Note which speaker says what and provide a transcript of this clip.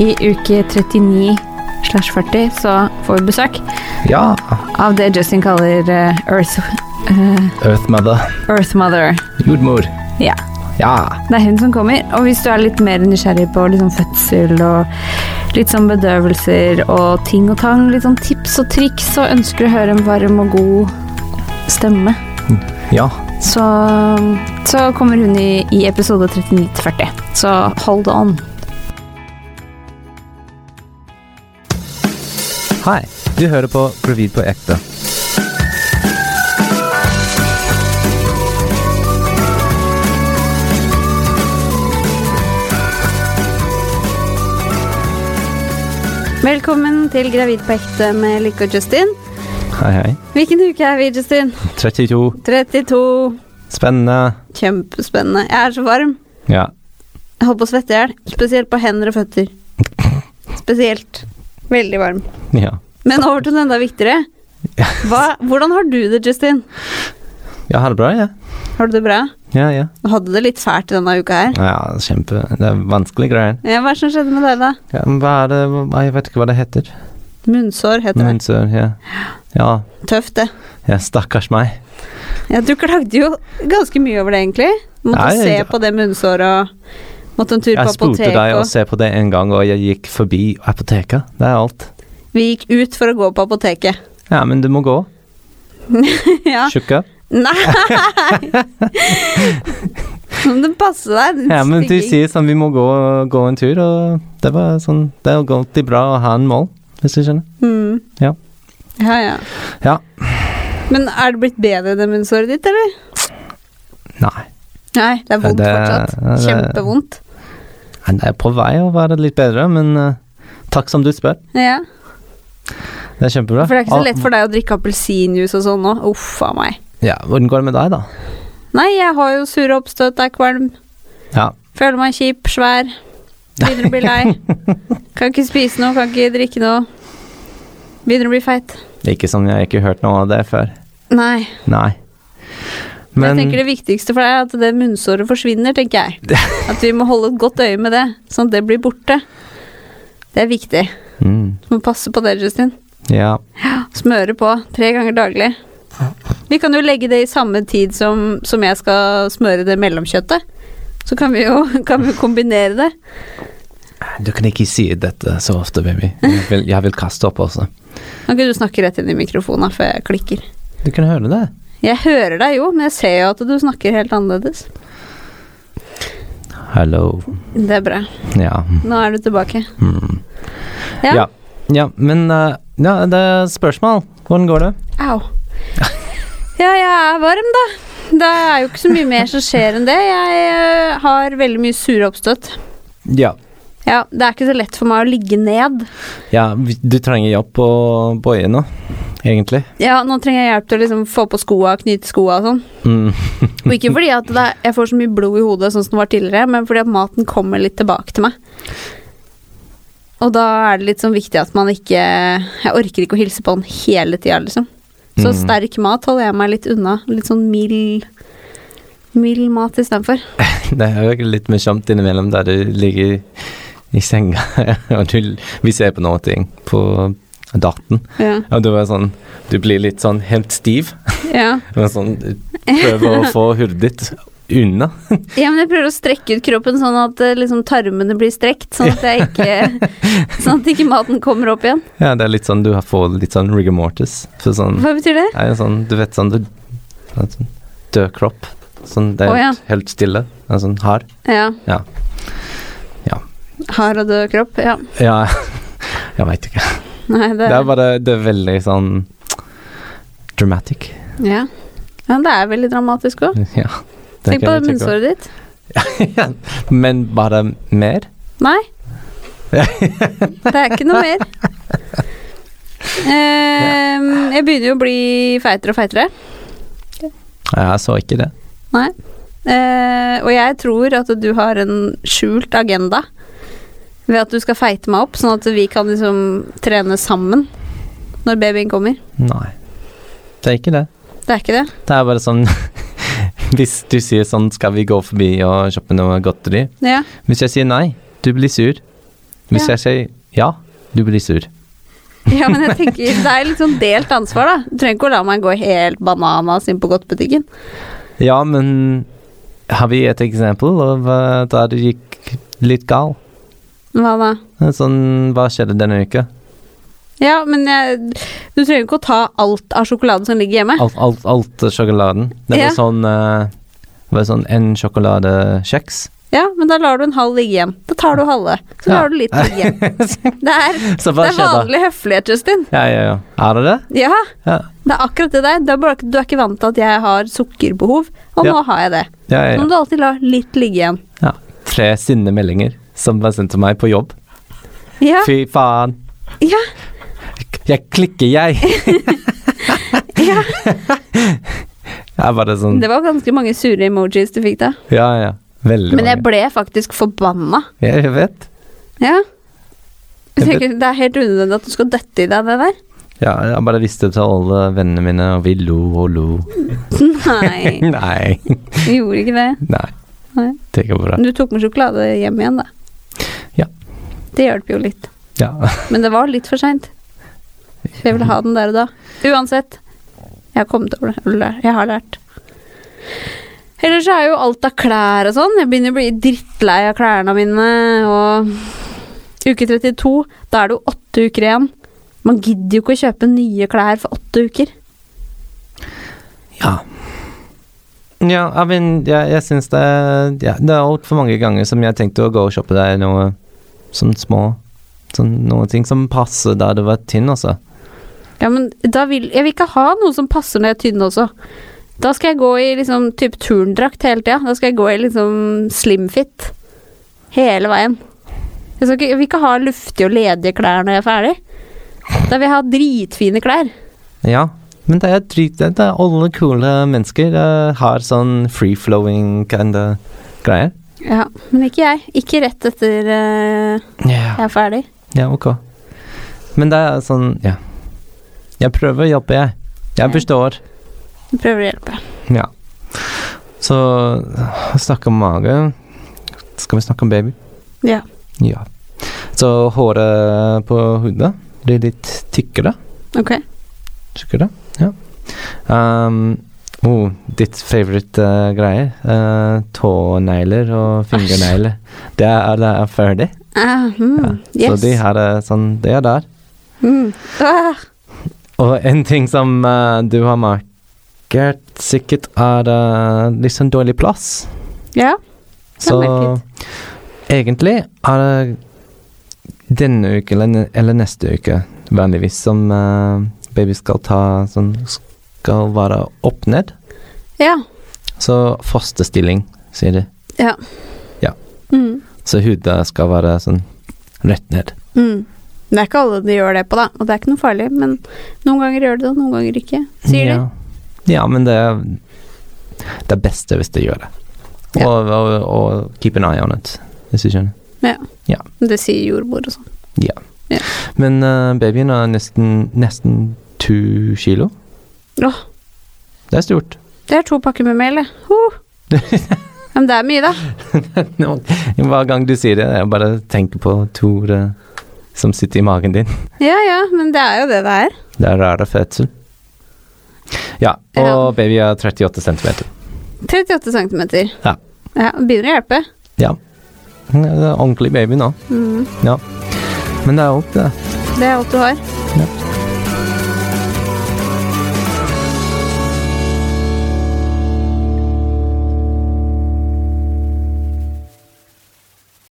Speaker 1: I uke 39 slash 40 så får vi besøk
Speaker 2: Ja,
Speaker 1: av det Justin kaller eh, Earth, eh,
Speaker 2: Earth Mother.
Speaker 1: Earth Mother.
Speaker 2: Jordmor.
Speaker 1: Ja.
Speaker 2: Ja.
Speaker 1: Det er hun som kommer. Og hvis du er litt mer nysgjerrig på liksom fødsel og litt sånn bedøvelser og ting og tang, litt sånn tips og triks, og ønsker å høre en varm og god stemme,
Speaker 2: Ja.
Speaker 1: så, så kommer hun i, i episode 39 til 40. Så hold on.
Speaker 2: Hei, du hører på Gravid på ekte.
Speaker 1: Velkommen til Gravid på ekte med Lykke og Justin.
Speaker 2: Hei, hei.
Speaker 1: Hvilken uke er vi, Justin?
Speaker 2: 32.
Speaker 1: 32.
Speaker 2: Spennende.
Speaker 1: Kjempespennende. Jeg er så varm.
Speaker 2: Ja.
Speaker 1: Jeg holder på å svette i hjel. Spesielt på hender og føtter. Spesielt. Veldig varm.
Speaker 2: Ja.
Speaker 1: Men over til den enda viktigere. Hva, hvordan har du det, Justin?
Speaker 2: Jeg har det bra, jeg.
Speaker 1: Har du det bra?
Speaker 2: Ja, ja.
Speaker 1: Du hadde det litt fælt denne uka her.
Speaker 2: Ja, kjempe. Det er vanskelig greier.
Speaker 1: Ja, hva er det som skjedde med deg, da?
Speaker 2: Ja, men hva er det hva- Jeg vet ikke hva det heter.
Speaker 1: Munnsår heter det.
Speaker 2: Men så, ja. Ja,
Speaker 1: Tøft, det.
Speaker 2: ja stakkars meg.
Speaker 1: Ja, du klagde jo ganske mye over det, egentlig. Du måtte
Speaker 2: Nei,
Speaker 1: se
Speaker 2: jeg-
Speaker 1: på det munnsåret og måtte en tur
Speaker 2: Jeg
Speaker 1: på
Speaker 2: spurte
Speaker 1: apoteket.
Speaker 2: deg å
Speaker 1: Og...
Speaker 2: se på det en gang, og jeg gikk forbi apoteket. Det er alt.
Speaker 1: Vi gikk ut for å gå på apoteket.
Speaker 2: Ja, men du må gå.
Speaker 1: ja.
Speaker 2: Tjukka.
Speaker 1: Nei! Nå må du passe deg, din
Speaker 2: Ja, men du
Speaker 1: stygging.
Speaker 2: sier sånn vi må gå, gå en tur, og det var sånn Det er jo alltid bra å ha en mål, hvis du skjønner.
Speaker 1: Mm.
Speaker 2: Ja.
Speaker 1: ja, ja.
Speaker 2: Ja.
Speaker 1: Men er det blitt bedre, det munnsåret ditt, eller?
Speaker 2: Nei.
Speaker 1: Nei, det er vondt
Speaker 2: Det-
Speaker 1: fortsatt.
Speaker 2: det-
Speaker 1: Kjempevondt.
Speaker 2: Nei, Det er på vei å være litt bedre, men eh, takk som du spør.
Speaker 1: Ja.
Speaker 2: Det er kjempebra.
Speaker 1: For det er ikke så
Speaker 2: Og-
Speaker 1: lett for deg å drikke appelsinjuice og sånn nå. Uff a meg.
Speaker 2: Ja, Hvordan går det med deg, da?
Speaker 1: Nei, jeg har jo sure oppstøt, er kvalm,
Speaker 2: Ja.
Speaker 1: føler meg kjip, svær. Begynner å bli lei. Kan ikke spise noe, kan ikke drikke noe. Begynner å bli feit.
Speaker 2: Ikke som jeg ikke har hørt noe av det før.
Speaker 1: Nei.
Speaker 2: Nei.
Speaker 1: jeg tenker det viktigste for deg er at det munnsåret forsvinner, tenker jeg. At vi må holde et godt øye med det, sånn at det blir borte. Det er viktig.
Speaker 2: mm,
Speaker 1: Du må passe på det, Justin.
Speaker 2: Ja.
Speaker 1: Smøre på tre ganger daglig. Vi kan jo legge det i samme tid som, som jeg skal smøre det mellomkjøttet. Så kan vi jo kan vi kombinere det.
Speaker 2: Du kan ikke si dette så ofte, baby. Jeg vil, jeg vil kaste opp også.
Speaker 1: Kan ikke du snakke rett inn i mikrofonen før jeg klikker?
Speaker 2: Du kan høre det.
Speaker 1: Jeg hører deg jo, men jeg ser jo at du snakker helt annerledes.
Speaker 2: Hello.
Speaker 1: Det er bra.
Speaker 2: Ja.
Speaker 1: Nå er du tilbake.
Speaker 2: Mm.
Speaker 1: Ja.
Speaker 2: Ja. ja men eh, ja, det er spørsmål. Hvordan går det?
Speaker 1: Au. Ja, jeg er varm, da. Det er jo ikke så mye mer som skjer enn det. Jeg eh, har veldig mye sure oppstøt.
Speaker 2: Ja.
Speaker 1: Ja, det er ikke så lett for meg å ligge ned.
Speaker 2: Ja, vi- du trenger hjelp på bøye nå, egentlig.
Speaker 1: Ja, nå trenger jeg hjelp til å liksom få på skoa, knyte skoa og sånn.
Speaker 2: Mm.
Speaker 1: Og ikke fordi at det er, jeg får så mye blod i hodet sånn som det var tidligere, men fordi at maten kommer litt tilbake til meg. Og da er det litt sånn viktig at man ikke Jeg orker ikke å hilse på den hele tida, liksom. Så
Speaker 2: Mm.
Speaker 1: sterk mat holder jeg meg litt unna. Litt sånn mild Mild mat istedenfor.
Speaker 2: Det er jo litt morsomt innimellom der du ligger i senga, og du, vi ser på noe ting på daten,
Speaker 1: Ja.
Speaker 2: og du er sånn Du blir litt sånn helt stiv,
Speaker 1: ja.
Speaker 2: men sånn du prøver å få hodet ditt unna.
Speaker 1: Ja, men jeg prøver å strekke ut kroppen sånn at eh, liksom tarmene blir strekt, sånn at, jeg ikke, sånn at ikke maten kommer opp igjen.
Speaker 2: Ja, det er litt sånn du har fått litt sånn rigor mortis. For sånn,
Speaker 1: Hva betyr det?
Speaker 2: det er jo sånn Du vet sånn du at sånn Død kropp. Sånn, det er
Speaker 1: Å, ja.
Speaker 2: helt, helt stille. Det er Sånn hard.
Speaker 1: Ja.
Speaker 2: Ja. Ja.
Speaker 1: Hard og død kropp. Ja.
Speaker 2: Ja, jeg veit ikke.
Speaker 1: Nei, det,
Speaker 2: Det er bare Det er veldig sånn Dramatic.
Speaker 1: ja. ja, det er veldig dramatisk òg.
Speaker 2: Ja. det
Speaker 1: Tenk på
Speaker 2: kan jeg tenke
Speaker 1: munnsåret ditt.
Speaker 2: på. Men bare mer?
Speaker 1: Nei. det er ikke noe mer. Ehm, jeg begynner jo å bli feitere og feitere.
Speaker 2: Ja, jeg så ikke det.
Speaker 1: Nei. Eh, og jeg tror at du har en skjult agenda ved at du skal feite meg opp, sånn at vi kan liksom trene sammen når babyen kommer.
Speaker 2: Nei. Det er ikke det.
Speaker 1: Det er ikke det?
Speaker 2: Det er bare sånn Hvis du sier sånn 'skal vi gå forbi og kjøpe noe godteri',
Speaker 1: Ja.
Speaker 2: hvis jeg sier nei, du blir sur. Hvis
Speaker 1: Ja.
Speaker 2: jeg sier ja, du blir sur.
Speaker 1: Ja, men jeg tenker det er litt sånn delt ansvar, da. Du trenger ikke å la meg gå helt bananas inn på godtbutikken.
Speaker 2: Ja, men har vi et eksempel av eh, da det gikk litt gal?
Speaker 1: Hva da?
Speaker 2: Sånn, hva skjedde denne uka?
Speaker 1: Ja, men jeg, du trenger ikke å ta alt av sjokoladen som ligger hjemme.
Speaker 2: Alt, alt, alt sjokoladen. Det var
Speaker 1: Ja.
Speaker 2: sånn eh, det var sånn en sjokoladekjeks.
Speaker 1: Ja, men da lar du en halv ligge igjen. Da tar du halve. Så
Speaker 2: Ja.
Speaker 1: lar du litt ligge igjen. Det er,
Speaker 2: Så
Speaker 1: det
Speaker 2: hva
Speaker 1: er
Speaker 2: skjedde?
Speaker 1: vanlig høflighet, Justin.
Speaker 2: Ja, ja, ja. Er det det?
Speaker 1: Ja,
Speaker 2: Ja,
Speaker 1: det er akkurat det der. Du er, bare, du er ikke vant til at jeg har sukkerbehov, og
Speaker 2: Ja.
Speaker 1: nå har jeg det.
Speaker 2: ja,
Speaker 1: Så
Speaker 2: ja.
Speaker 1: må
Speaker 2: ja.
Speaker 1: du alltid la litt ligge igjen.
Speaker 2: ja. Tre sinne meldinger som var sendt til meg på jobb.
Speaker 1: Ja,
Speaker 2: Fy faen.
Speaker 1: ja,
Speaker 2: Jeg klikker, jeg.
Speaker 1: ja.
Speaker 2: Jeg bare sånn
Speaker 1: Det var ganske mange sure emojis du fikk da.
Speaker 2: Ja, ja. Veldig
Speaker 1: Men jeg
Speaker 2: mange.
Speaker 1: ble faktisk forbanna.
Speaker 2: Jeg, jeg vet.
Speaker 1: Ja. Jeg
Speaker 2: Jeg
Speaker 1: tenker, det er helt unødvendig at du skal døtte i deg det der.
Speaker 2: Ja, jeg bare visste det til alle vennene mine, og vi lo og lo.
Speaker 1: Nei,
Speaker 2: Nei.
Speaker 1: du gjorde ikke det.
Speaker 2: Nei.
Speaker 1: Nei.
Speaker 2: Det går bra.
Speaker 1: Men Du tok med sjokolade hjem igjen, da.
Speaker 2: Ja.
Speaker 1: Det hjalp jo litt.
Speaker 2: Ja.
Speaker 1: Men det var litt for seint. For jeg ville ha den der og da. Uansett. Jeg har kommet over det. Jeg har lært- Jeg har lært. Ellers så er jo alt av klær og sånn. Jeg begynner å bli drittlei av klærne mine. Og uke 32, da er det jo åtte uker igjen. Man gidder jo ikke å kjøpe nye klær for åtte uker.
Speaker 2: Ja. Ja, jeg, men, jeg, jeg syns det ja, Det er altfor mange ganger som jeg tenkte å gå og shoppe der noe sånn små sånn, Noen ting som passer da det var tynn, altså.
Speaker 1: Ja, men da vil, jeg vil ikke ha noe som passer når jeg er tynn også. Da skal jeg gå i liksom typ turndrakt hele tida. Da skal jeg gå i liksom slimfit hele veien. Jeg, skal ikke, jeg vil ikke ha luftige og ledige klær når jeg er ferdig. Da vil jeg ha dritfine klær.
Speaker 2: Ja. Men det er drit det er Alle kule mennesker eh, har sånn free-flowing kinda greier.
Speaker 1: Ja, Men ikke jeg. Ikke rett etter eh,
Speaker 2: Ja.
Speaker 1: jeg er ferdig.
Speaker 2: ja, ok. Men det er sånn Ja. Jeg prøver å jobbe, jeg.
Speaker 1: Ja.
Speaker 2: Jeg forstår.
Speaker 1: Jeg prøver å hjelpe.
Speaker 2: Ja. Så snakke om mage Skal vi snakke om baby?
Speaker 1: Ja.
Speaker 2: Ja. Så håret på hodet blir litt tykkere.
Speaker 1: Ok.
Speaker 2: Tykkere, ja. Um, oh, ditt favorite eh, greier. Eh, tånegler og fingernegler. Det er, det er ferdig.
Speaker 1: Ah, mm,
Speaker 2: Så
Speaker 1: yes.
Speaker 2: de her er sånn Det er der.
Speaker 1: mm. ah,
Speaker 2: Og en ting som eh, du har markert sikkert, er eh, litt sånn dårlig plass.
Speaker 1: ja. Det
Speaker 2: Så
Speaker 1: er merkelig.
Speaker 2: egentlig er det denne uke eller, ne- eller neste uke vanligvis som eh, baby skal ta Som skal være opp ned.
Speaker 1: Ja.
Speaker 2: Så fosterstilling, sier de.
Speaker 1: Ja.
Speaker 2: Ja.
Speaker 1: Mm.
Speaker 2: Så hodet skal være sånn rett ned.
Speaker 1: Mm. Det er ikke alle de gjør det på, da. Og det er ikke noe farlig, men noen ganger gjør de det, og noen ganger ikke. Sier
Speaker 2: ja.
Speaker 1: de.
Speaker 2: Ja, men det er det er beste hvis de gjør det.
Speaker 1: Ja.
Speaker 2: Og, og, og keep an eye on it, hvis du skjønner.
Speaker 1: Men Det sier jordmor og sånn.
Speaker 2: Men eh, babyen er nesten, nesten to kilo.
Speaker 1: Åh.
Speaker 2: Det er stort.
Speaker 1: Det er to pakker med mel, det. Huh. Ja, Men det er mye, da.
Speaker 2: Nå, Hver gang du sier det, jeg bare tenker på Tor eh, som sitter i magen din.
Speaker 1: Ja ja, men det er jo det det er.
Speaker 2: Det er rar fødsel. Ja, og
Speaker 1: Ja.
Speaker 2: baby er 38 centimeter.
Speaker 1: 38 cm.
Speaker 2: Ja.
Speaker 1: ja. det Begynner å hjelpe.
Speaker 2: Ja. Det er en ordentlig baby nå.
Speaker 1: Mm.
Speaker 2: Men det er opp, det.
Speaker 1: Det er alt du har.
Speaker 2: Ja.